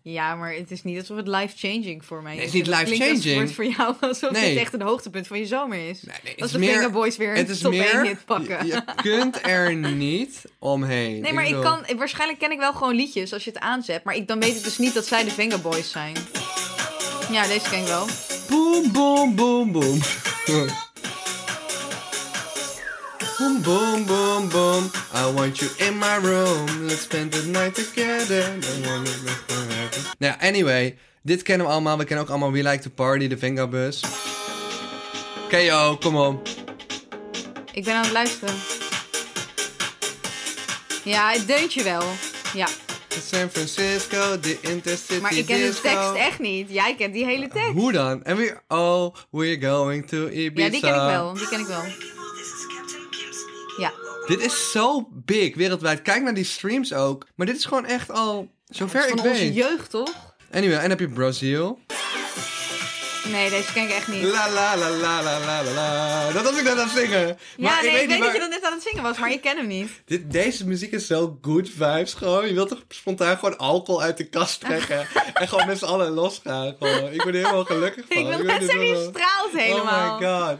A: Ja, maar het is niet alsof het life-changing voor mij is.
B: Nee, het is niet
A: Het klinkt alsof
B: life-changing.
A: Het wordt voor jou [LAUGHS] alsof
B: Nee.
A: dit echt een hoogtepunt van je zomer is.
B: Nee, nee, het
A: Als
B: is
A: de
B: meer-
A: Venga Boys weer
B: het
A: een
B: is
A: top
B: meer,
A: 1 hit pakken. [LAUGHS]
B: Je, je kunt er niet omheen.
A: Nee, maar ik
B: bedoel-
A: kan, waarschijnlijk ken ik wel gewoon liedjes als je het aanzet. Maar ik, dan weet ik dus niet dat zij de Venga Boys zijn. Ja, deze ken ik wel.
B: Boom, boom, boom, boom. boom, boom, boom, boom. I want you in my room. Let's spend the night together. I wanna make forever. Nou ja, anyway. Dit kennen we allemaal. We kennen ook allemaal We Like to Party, de Vengabus. KO, kom op.
A: Ik ben aan het luisteren. Ja, het deuntje wel. Ja.
B: San Francisco, de intercity
A: Maar ik ken de
B: disco.
A: tekst echt niet. Jij kent die hele tekst.
B: Hoe dan? En we oh, we're going to Ibiza.
A: Ja, die ken ik wel. Die ken ik wel.
C: This is Captain Kim speaking.
A: Ja.
B: Dit is zo big wereldwijd. Kijk naar die streams ook. Maar dit is gewoon echt al zover
A: Van
B: ik
A: onze
B: weet.
A: jeugd, toch?
B: Anyway, en heb je Brazil.
A: Nee, deze ken ik echt niet.
B: La la la la la la la la. Dat was ik net aan het zingen.
A: Ja, nee, ik weet,
B: niet
A: dat
B: waar-
A: je dat net aan het zingen was, maar je kent hem niet.
B: Dit, deze muziek is zo good vibes gewoon. Je wilt toch spontaan gewoon alcohol uit de
A: [LAUGHS]
B: kast trekken. en gewoon met z'n allen losgaan. Gewoon. Oh, Ik word er helemaal gelukkig van.
A: Ik wil
B: weet
A: net
B: niet
A: zeggen, je
B: waarom.
A: straalt
B: Oh
A: helemaal.
B: my god.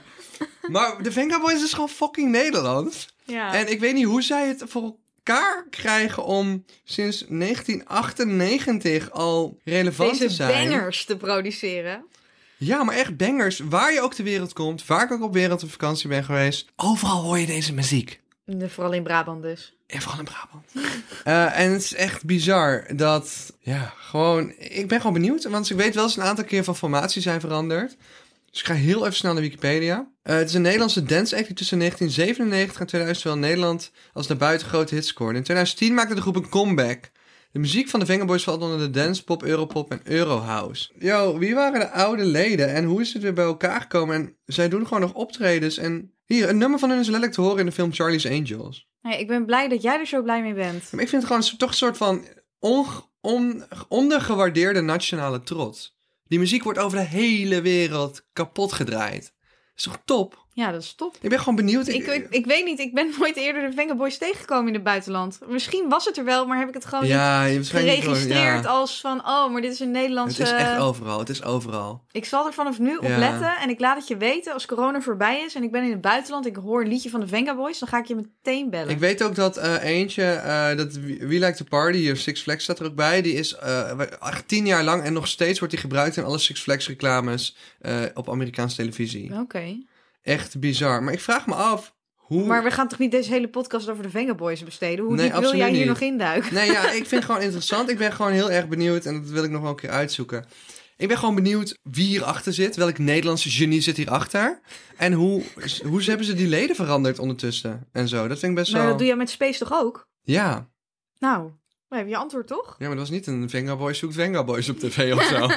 B: Maar de Venga Boys is gewoon fucking Nederlands.
A: Ja.
B: En ik weet niet hoe zij het voor elkaar krijgen om sinds 1998 al relevant te
A: Deze
B: zijn.
A: bangers te produceren.
B: Ja, maar echt bangers. Waar je ook ter wereld komt, waar ik ook op wereld op vakantie ben geweest. Overal hoor je deze muziek.
A: Nee, Vooral in Brabant dus.
B: En vooral in Brabant. Eh, en het is echt bizar dat, ja, gewoon, ik ben gewoon benieuwd. Want ik weet wel eens een aantal keer van formatie zijn veranderd. Dus ik ga heel even snel naar Wikipedia. Eh, het is een Nederlandse dance act die tussen 1997 en 2000 zowel in Nederland als naar buiten grote hits scoorde. In 2010 maakte de groep een comeback. De muziek van de Vengaboys valt onder de dance, pop, europop en eurohouse. Yo, wie waren de oude leden en hoe is het weer bij elkaar gekomen? En zij doen gewoon nog optredens en... Hier, een nummer van hun is letterlijk te horen in de film Charlie's Angels.
A: Nee, Nou ik ben blij dat jij er zo blij mee bent.
B: Maar ik vind het gewoon toch een soort van onge- on- ondergewaardeerde nationale trots. Die muziek wordt over de hele wereld kapot gedraaid. Is toch top?
A: Ja, dat is top.
B: Ik ben gewoon benieuwd.
A: Ik, ik, ik weet niet, ik ben [LAUGHS] nooit eerder de Venga Boys tegengekomen in het buitenland. Misschien was het er wel, maar heb ik het gewoon niet
B: ja, je waarschijnlijk gewoon-
A: geregistreerd eh,
B: ja.
A: als van... Oh, maar dit is een
B: Het
A: Nederlandse...
B: is echt overal. Het is overal.
A: Ik zal er vanaf nu op
B: Ja.
A: letten en ik laat het je weten als corona voorbij is en ik ben in het buitenland. Ik hoor een liedje van de Venga Boys, dan ga ik je meteen bellen.
B: Ik weet ook dat eh, eentje, eh, dat We We Like to Party, hier Six Flags staat er ook bij. Die is eh, echt tien jaar lang en nog steeds wordt die gebruikt in alle Six Flags reclames eh, op Amerikaanse televisie.
A: Oké.
B: Echt bizar. Maar ik vraag me af, hoe...
A: Maar we gaan toch niet deze hele podcast over de Venga Boys besteden? Hoe
B: Nee,
A: diep wil
B: absoluut
A: jij hier
B: niet.
A: nog induiken?
B: Nee, ja, ik vind het gewoon interessant. Ik ben gewoon heel erg benieuwd en dat wil ik nog wel een keer uitzoeken. Ik ben gewoon benieuwd wie hierachter zit. Welk Nederlandse genie zit hierachter? En hoe, hoe hebben ze die leden veranderd ondertussen? En zo, dat vind ik best
A: Maar
B: wel...
A: Nou, dat doe jij met Space toch ook?
B: Ja.
A: Nou, we hebben je antwoord toch?
B: ja, maar dat was niet een Venga Boys zoekt Venga Boys op tv of
A: [LAUGHS]
B: zo.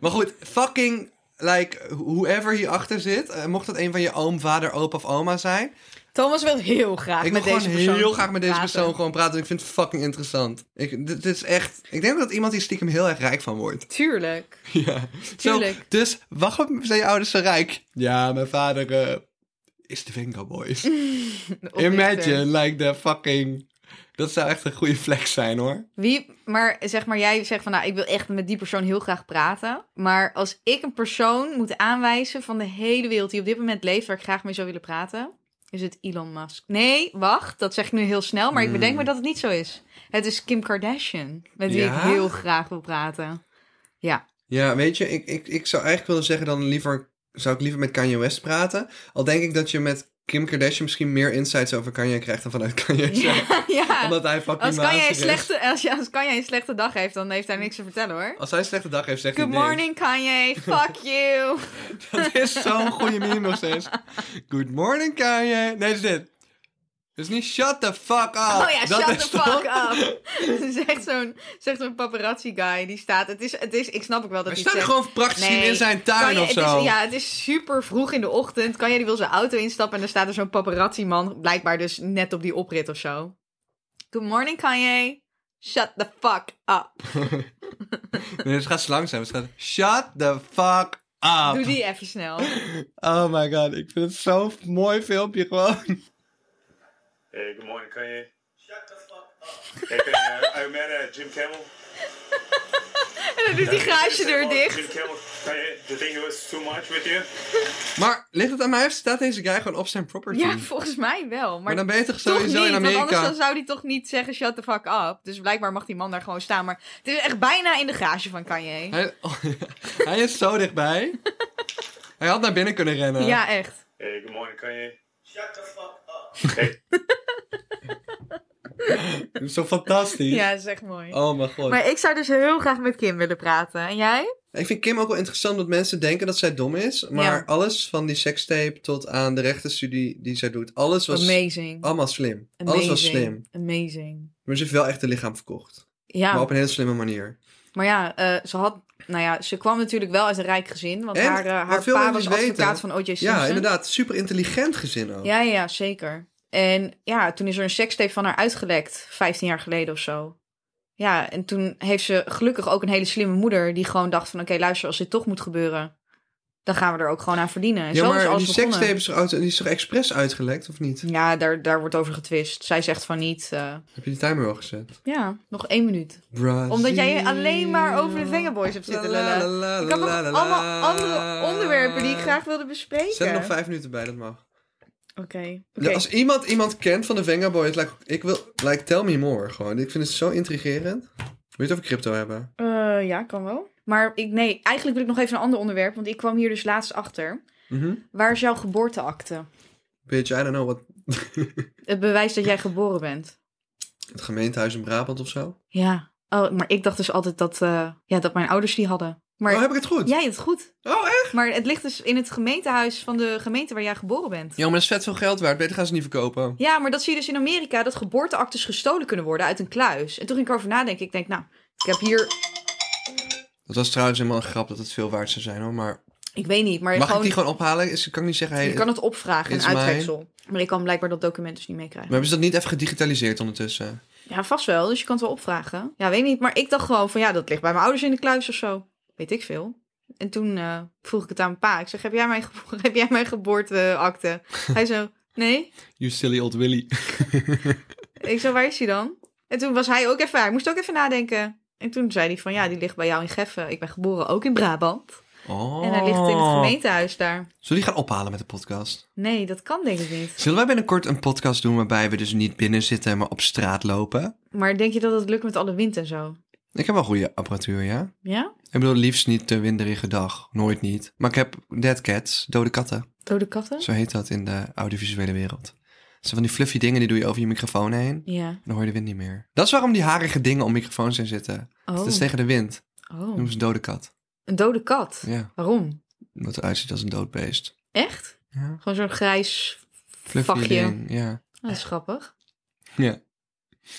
B: maar goed, fucking, like, whoever hierachter zit. eh, Mocht dat een van je oom, vader, opa of oma zijn.
A: Thomas wil heel graag
B: Ik wil
A: met
B: gewoon
A: deze persoon
B: heel graag met deze
A: praten.
B: persoon gewoon praten. Ik vind het fucking interessant. Ik, dit dit is echt... Ik denk dat iemand hier stiekem heel erg rijk van wordt.
A: Tuurlijk.
B: [LAUGHS] Ja,
A: Tuurlijk.
B: Zo, dus waarom zijn je ouders zo rijk? Ja, mijn vader eh, is de Venga
A: [LAUGHS]
B: Boys.
A: De oprichter.
B: Imagine, like the fucking... Dat zou echt een goede flex zijn, hoor.
A: Wie, maar zeg maar, jij zegt van nou, ik wil echt met die persoon heel graag praten. Maar als ik een persoon moet aanwijzen van de hele wereld die op dit moment leeft waar ik graag mee zou willen praten, is het Elon Musk. Nee, wacht, dat zeg ik nu heel snel, maar ik
B: Hmm.
A: bedenk me dat het niet zo is. Het is Kim Kardashian, met wie
B: Ja?
A: ik heel graag wil praten. Ja,
B: Ja, weet je, ik, ik, ik zou eigenlijk willen zeggen dan liever... Zou ik liever met Kanye West praten? Al denk ik dat je met Kim Kardashian misschien meer insights over Kanye krijgt dan vanuit Kanye zelf.
A: [LAUGHS] ja.
B: Omdat hij fucking
A: Als kan, jij een
B: wazig is.
A: slechte, als, je- als kan jij een slechte dag heeft, dan heeft hij niks te vertellen hoor.
B: Als hij een slechte dag heeft, zegt
A: Good
B: hij niks.
A: morning, Kanye. Fuck
B: [LAUGHS]
A: you.
B: Dat is zo'n goede meme nog steeds. Good morning, Kanye. Nee, dat is dit. Dat is niet shut the fuck up.
A: Oh ja,
B: Dat
A: shut
B: is
A: the
B: toch-
A: fuck up. [LAUGHS] Dat is echt zo'n zegt zo'n paparazzi guy die staat. Het is, het is, ik snap ook wel dat
B: Hij
A: hij
B: staat er
A: zegt-
B: gewoon praktisch in in zijn tuin
A: Kanye-
B: of
A: het
B: zo.
A: Is, ja, het is super vroeg in de ochtend. Kan jij die wil zijn auto instappen en dan staat er zo'n paparazzi man blijkbaar dus net op die oprit of zo. Good morning Kanye. Shut the fuck up.
B: Nee, het gaat zo langzaam. Het gaat shut the fuck up.
A: Doe die even snel.
B: Oh my god, ik vind het zo'n mooi filmpje gewoon.
D: Hey, good morning, Kanye.
C: Shut the fuck up.
D: Hey, Kanye, are you mad at Jim Campbell?
A: En dan doet die garagedeur
D: Jim
A: dicht.
D: Campbell, Kanye, the thing was too much with you?
B: Maar ligt het aan mij of staat deze guy gewoon op zijn property?
A: Ja, volgens mij wel. Maar,
B: maar dan ben je toch
A: Toch
B: sowieso
A: niet,
B: in
A: want
B: Amerika.
A: anders dan zou hij toch niet zeggen shut the fuck up. Dus blijkbaar mag die man daar gewoon staan. Maar het is echt bijna in de garage van Kanye.
B: hij, [LAUGHS] hij is zo dichtbij. hij had naar binnen kunnen rennen.
A: Ja, echt.
D: Hey, good morning, Kanye.
C: Shut the fuck up.
B: Dat is Zo fantastisch.
A: Ja, dat is echt mooi.
B: Oh mijn god.
A: Maar ik zou dus heel graag met Kim willen praten. En jij?
B: Ik vind Kim ook wel interessant dat mensen denken dat zij dom is. Maar
A: Ja.
B: alles van die sekstape tot aan de rechtenstudie die zij doet. Alles was
A: Amazing.
B: allemaal slim.
A: Amazing.
B: Alles was slim.
A: Amazing.
B: Maar ze heeft wel echt een lichaam verkocht.
A: Ja,
B: Maar op een hele slimme manier.
A: maar ja, eh, ze had... Nou ja, ze kwam natuurlijk wel uit een rijk gezin. Want
B: En
A: haar, eh, haar
B: wat veel
A: pa was
B: mensen niet
A: advocaat
B: weten-
A: van O.J. Simpson.
B: Ja, inderdaad. Super intelligent gezin ook.
A: Ja, ja, ja, zeker. En ja, toen is er een sekstape van haar uitgelekt. 15 jaar geleden of zo. Ja, en toen heeft ze gelukkig ook een hele slimme moeder... die gewoon dacht van... oké, luister, als dit toch moet gebeuren... dan gaan we er ook gewoon aan verdienen.
B: Ja,
A: En zo is
B: maar
A: alles
B: die
A: begonnen.
B: sekstape is, er uit- die is toch expres uitgelekt, of niet?
A: Ja, daar, daar wordt over getwist. Zij zegt van niet... eh,
B: Heb je die timer wel gezet?
A: ja, nog één minuut.
B: Brazil.
A: Omdat jij alleen maar over de Vengaboys hebt zitten
B: La, la,
A: lullen.
B: la, la,
A: Ik had nog
B: la, la, la.
A: allemaal andere onderwerpen die ik graag wilde bespreken.
B: Zet er nog vijf minuten bij, dat mag.
A: Oké.
B: Ja, als iemand iemand kent van de Venga Boys, like, ik wil, like, tell me more. Gewoon. Ik vind het zo intrigerend. Wil je het over crypto hebben?
A: Eh, ja, kan wel. Maar ik, nee, eigenlijk wil ik nog even een ander onderwerp. Want ik kwam hier dus laatst achter.
B: Mhm.
A: Waar is jouw geboorteakte?
B: Bitch, I don't know, wat
A: Het bewijs dat jij geboren bent.
B: [LAUGHS] het gemeentehuis in Brabant of zo?
A: Ja. Oh, maar ik dacht dus altijd dat, eh, ja, dat mijn ouders die hadden. Maar
B: oh, heb ik het goed?
A: jij het goed.
B: Oh, echt?
A: Maar het ligt dus in het gemeentehuis van de gemeente waar jij geboren bent.
B: Ja, maar dat is vet veel geld waard. Beter gaan ze niet verkopen.
A: Ja, maar dat zie je dus in Amerika, dat geboorteactes gestolen kunnen worden uit een kluis. En toen ging ik erover nadenken. Ik denk, nou, ik heb hier,
B: Dat was trouwens helemaal een grap dat het veel waard zou zijn hoor. Maar
A: ik weet niet, maar
B: mag
A: gewoon,
B: ik die gewoon ophalen? Is, kan ik niet zeggen. Hey,
A: je kan het opvragen, een
B: is mijn-
A: uittreksel. Maar ik kan blijkbaar dat document dus niet meekrijgen.
B: Maar hebben ze dat niet even gedigitaliseerd ondertussen?
A: Ja, vast wel. Dus je kan het wel opvragen. Ja, weet niet. Maar ik dacht gewoon van ja, dat ligt bij mijn ouders in de kluis of zo. Weet ik veel. En toen eh, vroeg ik het aan mijn pa. Ik zeg, heb jij mijn, gebo- [LAUGHS] heb jij mijn geboorteakte?
B: [LAUGHS]
A: Hij zo, nee.
B: You silly old Willy.
A: Ik zo, waar is die dan? En toen was hij ook even, hij moest ook even nadenken. En toen zei hij van ja, die ligt bij jou in Geffen. Ik ben geboren ook in Brabant.
B: Oh.
A: En hij ligt in het gemeentehuis daar.
B: Zullen we die gaan ophalen met de podcast?
A: Nee, dat kan denk ik niet.
B: Zullen wij binnenkort een podcast doen waarbij we dus niet binnen zitten, maar op straat lopen?
A: Maar denk je dat het lukt met alle wind en zo?
B: Ik heb wel goede apparatuur, ja.
A: Ja?
B: Ik bedoel, liefst niet de winderige dag. Nooit niet. Maar ik heb dead cats, dode katten.
A: Dode katten?
B: Zo heet dat in de audiovisuele wereld. Dat zijn van die fluffy dingen die doe je over je microfoon heen.
A: Ja.
B: Dan hoor je de wind niet meer. Dat is waarom die harige dingen om microfoons heen zitten.
A: Oh.
B: Dat is tegen de wind. Dat
A: oh.
B: noemen ze dode kat.
A: Een dode kat?
B: Ja,
A: Waarom?
B: omdat het eruit ziet als een dood beest.
A: Echt?
B: Ja.
A: Gewoon zo'n grijs
B: Fluffy
A: vakje. Oh,
B: ding, ja.
A: Dat is grappig.
B: Ja.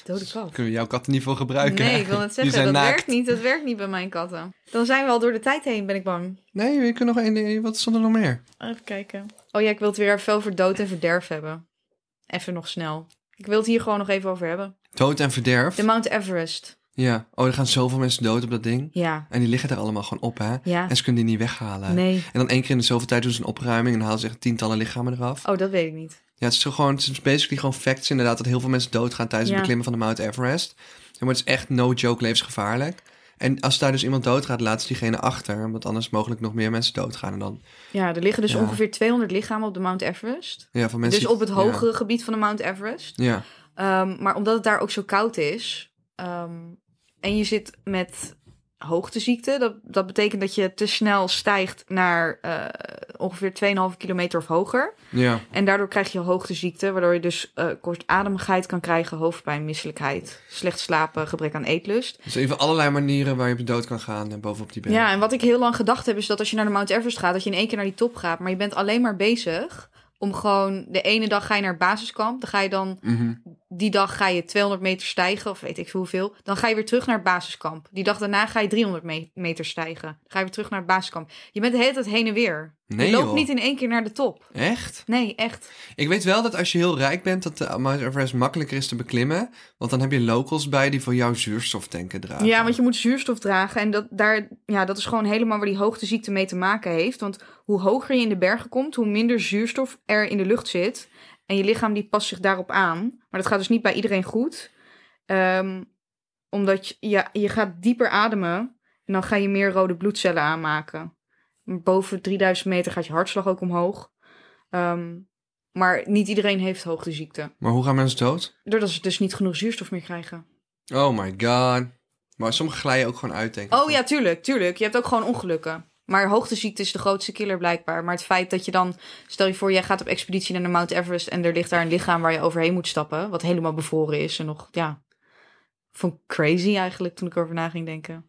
A: Dode kat.
B: Kunnen we jouw katten niet voor gebruiken?
A: Nee, ik wil net
B: [LAUGHS] Die
A: zeggen,
B: zijn
A: dat
B: naakt.
A: werkt niet. Dat werkt niet bij mijn katten. Dan zijn we al door de tijd heen, ben ik bang.
B: Nee, je kunt nog één ding. Wat stond er nog meer?
A: Even kijken. Oh ja, ik wil het weer veel voor dood en verderf hebben. Even nog snel. Ik wil het hier gewoon nog even over hebben.
B: Dood en verderf.
A: De Mount Everest.
B: Ja. Oh, er gaan zoveel mensen dood op dat ding.
A: Ja.
B: En die liggen daar allemaal gewoon op, hè?
A: Ja.
B: En ze kunnen die niet weghalen.
A: Nee.
B: En dan één keer in de zoveel tijd doen ze een opruiming en halen ze echt tientallen lichamen eraf.
A: Oh, dat weet ik niet.
B: Ja, het is zo gewoon, het is basically gewoon facts inderdaad dat heel veel mensen doodgaan tijdens
A: Ja.
B: het beklimmen van de Mount Everest. Maar het is echt no joke levensgevaarlijk. En als daar dus iemand doodgaat, laat ze diegene achter, want anders mogelijk nog meer mensen doodgaan. En dan,
A: Ja, er liggen dus
B: Ja.
A: ongeveer 200 lichamen op de Mount Everest.
B: ja, van mensen.
A: dus
B: die-
A: op het
B: ja.
A: hogere gebied van de Mount Everest.
B: Ja.
A: Ehm, maar omdat het daar ook zo koud is ehm, en je zit met hoogteziekte, dat, dat betekent dat je te snel stijgt naar eh, ongeveer 2,5 kilometer of hoger.
B: ja.
A: En daardoor krijg je hoogteziekte, waardoor je dus eh, kortademigheid kan krijgen, hoofdpijn, misselijkheid, slecht slapen, gebrek aan eetlust.
B: Dus even allerlei manieren waar je op dood kan gaan en bovenop die berg.
A: Ja, en wat ik heel lang gedacht heb, is dat als je naar de Mount Everest gaat, dat je in één keer naar die top gaat. Maar je bent alleen maar bezig om gewoon, de ene dag ga je naar het basiskamp, dan ga je dan
B: Mhm.
A: die dag ga je 200 meter stijgen, of weet ik veel hoeveel. Dan ga je weer terug naar het basiskamp. Die dag daarna ga je 300 me- meter stijgen. Dan ga je weer terug naar het basiskamp. Je bent de hele tijd heen en weer.
B: Nee,
A: je loopt
B: joh.
A: niet in één keer naar de top.
B: Echt?
A: Nee, echt.
B: Ik weet wel dat als je heel rijk bent, dat de Mount Everest makkelijker is te beklimmen. Want dan heb je locals bij die voor jou zuurstoftanken dragen.
A: Ja, want je moet zuurstof dragen. En dat, daar, ja, dat is gewoon helemaal waar die hoogteziekte mee te maken heeft. Want hoe hoger je in de bergen komt, hoe minder zuurstof er in de lucht zit. En je lichaam die past zich daarop aan. Maar dat gaat dus niet bij iedereen goed. Ehm, omdat je, ja, je gaat dieper ademen. En dan ga je meer rode bloedcellen aanmaken. Boven 3000 meter gaat je hartslag ook omhoog. Ehm, maar niet iedereen heeft hoogteziekte.
B: Maar hoe gaan mensen dood?
A: Doordat ze dus niet genoeg zuurstof meer krijgen.
B: Oh my god. Maar sommige glijden ook gewoon uit, denk ik.
A: Oh ja, tuurlijk, tuurlijk. Je hebt ook gewoon ongelukken. Maar hoogteziekte is de grootste killer blijkbaar. Maar het feit dat je dan... Stel je voor, jij gaat op expeditie naar de Mount Everest... en er ligt daar een lichaam waar je overheen moet stappen... wat helemaal bevroren is en nog... Ja, vond ik crazy eigenlijk toen ik erover na ging denken.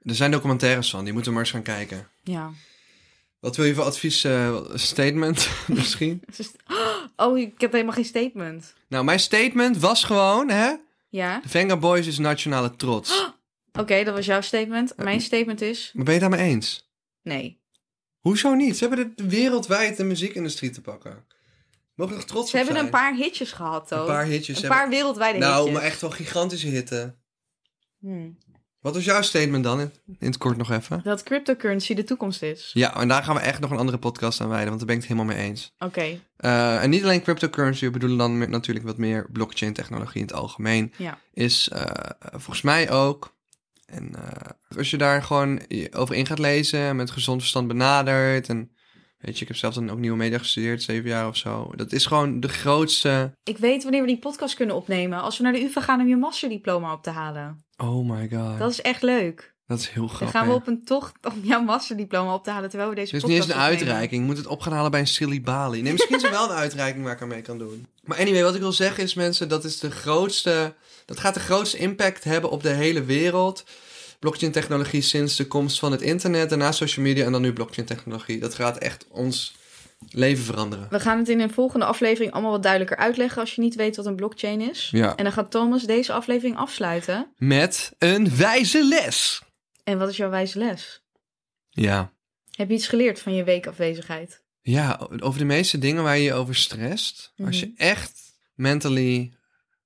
B: Er zijn documentaires van, die moeten we maar eens gaan kijken.
A: Ja.
B: Wat wil je voor advies, eh, statement [LAUGHS] misschien?
A: [GASPS] Het is- Oh, ik heb helemaal geen statement.
B: Nou, mijn statement was gewoon, hè?
A: Ja.
B: De Venga Boys is nationale
A: [GASPS]
B: trots.
A: Oké, dat was jouw statement.
B: Eh,
A: Mijn statement is
B: Maar ben je het daarmee eens?
A: nee.
B: Hoezo niet? Ze hebben de wereldwijd de muziekindustrie te pakken. Mogen we er trots
A: Ze
B: op
A: hebben
B: zijn?
A: een paar hitjes gehad, toch?
B: Een paar hitjes.
A: Een
B: hebben-
A: paar wereldwijde
B: Nou,
A: hitjes.
B: maar echt wel gigantische hitten.
A: Hmm.
B: Wat was jouw statement dan in, in het kort nog even?
A: Dat cryptocurrency de toekomst is.
B: Ja, en daar gaan we echt nog een andere podcast aan wijden, want daar ben ik het helemaal mee eens.
A: Oké.
B: Eh, en niet alleen cryptocurrency, we bedoelen dan met- natuurlijk wat meer blockchain-technologie in het algemeen.
A: Ja.
B: Is eh, volgens mij ook. En eh, als je daar gewoon je over in gaat lezen, en met gezond verstand benadert. En weet je, ik heb zelf dan ook nieuwe media gestudeerd, zeven jaar of zo. Dat is gewoon de grootste.
A: Ik weet wanneer we die podcast kunnen opnemen. Als we naar de UvA gaan om je masterdiploma op te halen.
B: Oh my god.
A: Dat is echt leuk.
B: Dat is heel
A: Dan
B: grappig.
A: gaan we op een tocht om jouw masterdiploma op te halen terwijl we deze
B: Het Dus is niet
A: podcast
B: eens een
A: opnemen.
B: uitreiking. Je moet het op gaan halen bij een silly balie. Nee, misschien is er wel een uitreiking waar ik aan mee kan doen. Maar anyway, wat ik wil zeggen is mensen, dat is de grootste... Dat gaat de grootste impact hebben op de hele wereld. Blockchain technologie sinds de komst van het internet, daarna social media en dan nu blockchain technologie. Dat gaat echt ons leven veranderen.
A: We gaan het in een volgende aflevering allemaal wat duidelijker uitleggen als je niet weet wat een blockchain is.
B: Ja.
A: En dan gaat Thomas deze aflevering afsluiten.
B: Met een wijze les.
A: En wat is jouw wijze les?
B: Ja.
A: Heb je iets geleerd van je weekafwezigheid?
B: Ja, o- over de meeste dingen waar je je over strest. Als je
A: Mhm.
B: echt mentally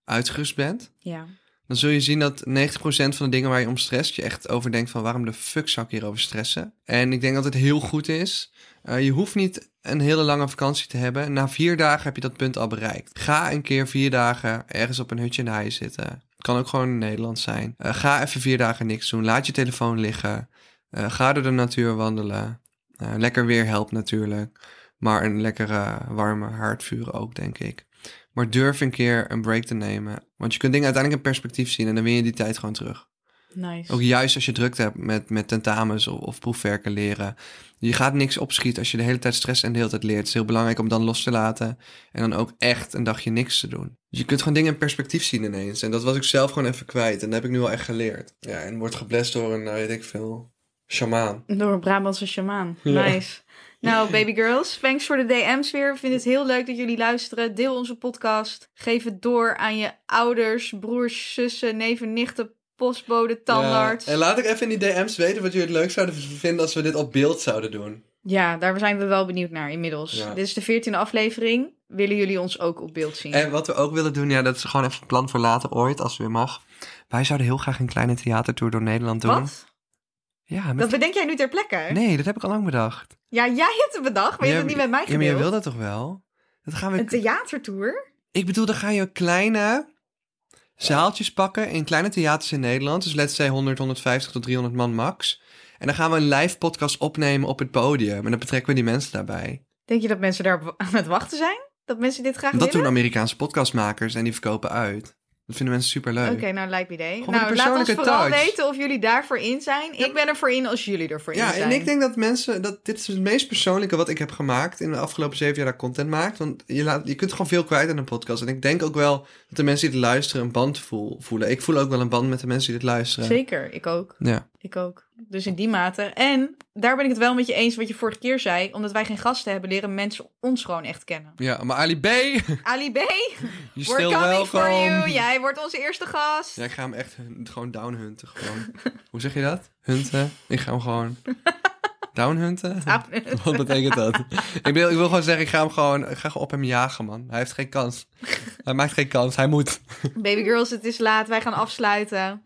B: uitgerust bent,
A: Ja.
B: dan zul je zien dat 90% van de dingen waar je om stress, je echt over denkt van waarom de fuck zou ik hierover stressen? En ik denk dat het heel goed is. Eh, je hoeft niet een hele lange vakantie te hebben. Na vier dagen heb je dat punt al bereikt. Ga een keer vier dagen ergens op een hutje in de hei zitten. Het kan ook gewoon in Nederland zijn. Eh, ga even vier dagen niks doen. Laat je telefoon liggen. Eh, ga door de natuur wandelen. Eh, lekker weer helpt natuurlijk. Maar een lekkere warme haardvuur ook, denk ik. Maar durf een keer een break te nemen. Want je kunt dingen uiteindelijk in perspectief zien en dan win je die tijd gewoon terug.
A: Nice.
B: Ook juist als je drukte hebt met, met tentamens of, of proefwerken leren. Je gaat niks opschieten als je de hele tijd stress en de hele tijd leert. Het is heel belangrijk om dan los te laten en dan ook echt een dagje niks te doen. Dus je kunt gewoon dingen in perspectief zien ineens. En dat was ik zelf gewoon even kwijt en dat heb ik nu al echt geleerd. Ja, en wordt geblest door een, nou, weet ik veel, shamaan.
A: Door een Brabantse shamaan.
B: Ja.
A: Nice. Nou, baby girls, thanks voor de DM's weer. We vinden het heel leuk dat jullie luisteren. Deel onze podcast. Geef het door aan je ouders, broers, zussen, neven, nichten, postbode, tandarts.
B: Ja, En laat ik even in die DM's weten wat jullie het leuk zouden vinden als we dit op beeld zouden doen.
A: Ja, daar zijn we wel benieuwd naar inmiddels.
B: Ja.
A: Dit is de veertiende aflevering. Willen jullie ons ook op beeld zien?
B: En wat we ook willen doen, ja, dat is gewoon even een plan voor later ooit, als weer mag. Wij zouden heel graag een kleine theatertour door Nederland doen.
A: Wat?
B: Ja,
A: Dat
B: met...
A: bedenk jij nu ter plekke?
B: Nee, dat heb ik al lang bedacht.
A: Ja, jij hebt het bedacht, maar je hebt het niet met mij
B: Ja, maar
A: gedeeld.
B: je wil dat toch wel? Dat gaan
A: Een
B: we...
A: theatertour?
B: Ik bedoel, dan ga je kleine zaaltjes pakken in kleine theaters in Nederland. Dus let's say 100, 150 tot 300 man max. En dan gaan we een live podcast opnemen op het podium. En dan betrekken we die mensen daarbij.
A: Denk je dat mensen daar [LAUGHS] aan het wachten zijn? Dat mensen dit graag
B: Dat
A: willen?
B: doen Amerikaanse podcastmakers en die verkopen uit. Dat vinden mensen superleuk.
A: Oké, nou lijkt me idee.
B: Gewoon een
A: Nou, laat ons
B: persoonlijke
A: vooral
B: touch.
A: weten of jullie daarvoor in zijn. ik ben ervoor in als jullie ervoor in
B: Ja,
A: zijn.
B: en ik denk dat mensen, dat dit is het meest persoonlijke wat ik heb gemaakt in de afgelopen zeven jaar dat ik content maak. Want je, laat, je kunt gewoon veel kwijt aan een podcast. En ik denk ook wel dat de mensen die het luisteren een band voel- voelen. Ik voel ook wel een band met de mensen die dit luisteren.
A: Zeker, ik ook.
B: Ja.
A: Ik ook. Dus in die mate. En daar ben ik het wel met je eens wat je vorige keer zei. Omdat wij geen gasten hebben, leren mensen ons gewoon echt
B: [LAUGHS]
A: kennen.
B: ja, maar Ali B,
A: Ali B,
B: je
A: we're coming for you. Jij wordt onze eerste gast. [LAUGHS]
B: Ja, ik ga hem echt hun- gewoon downhunten. Gewoon. [LAUGHS] Hoe zeg je dat? Hunten? Ik ga hem
A: [LAUGHS]
B: gewoon downhunten? [LAUGHS]
A: Ah,
B: Wat betekent dat? ik, wil, ik wil gewoon zeggen, ik ga hem gewoon, ik ga gewoon op hem jagen, man. Hij heeft geen kans. Hij maakt geen kans, hij moet.
A: Baby girls, het is laat. Wij gaan afsluiten.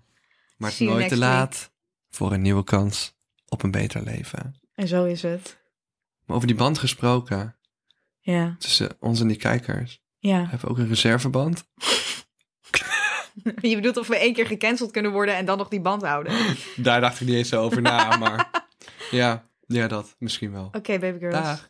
B: Maar het
A: See
B: is
A: you
B: nooit te
A: next week.
B: laat voor een nieuwe kans op een beter leven.
A: En zo is het.
B: Maar over die band gesproken,
A: Ja,
B: tussen ons en die kijkers.
A: ja.
B: Hebben we ook een reserveband?
A: [LAUGHS] Je bedoelt of we één keer gecanceld kunnen worden en dan nog die band
B: [LAUGHS]
A: houden. Oké,
B: Daar dacht ik niet eens zo over na, maar ja, ja, dat misschien wel.
A: baby girls.
B: Dag.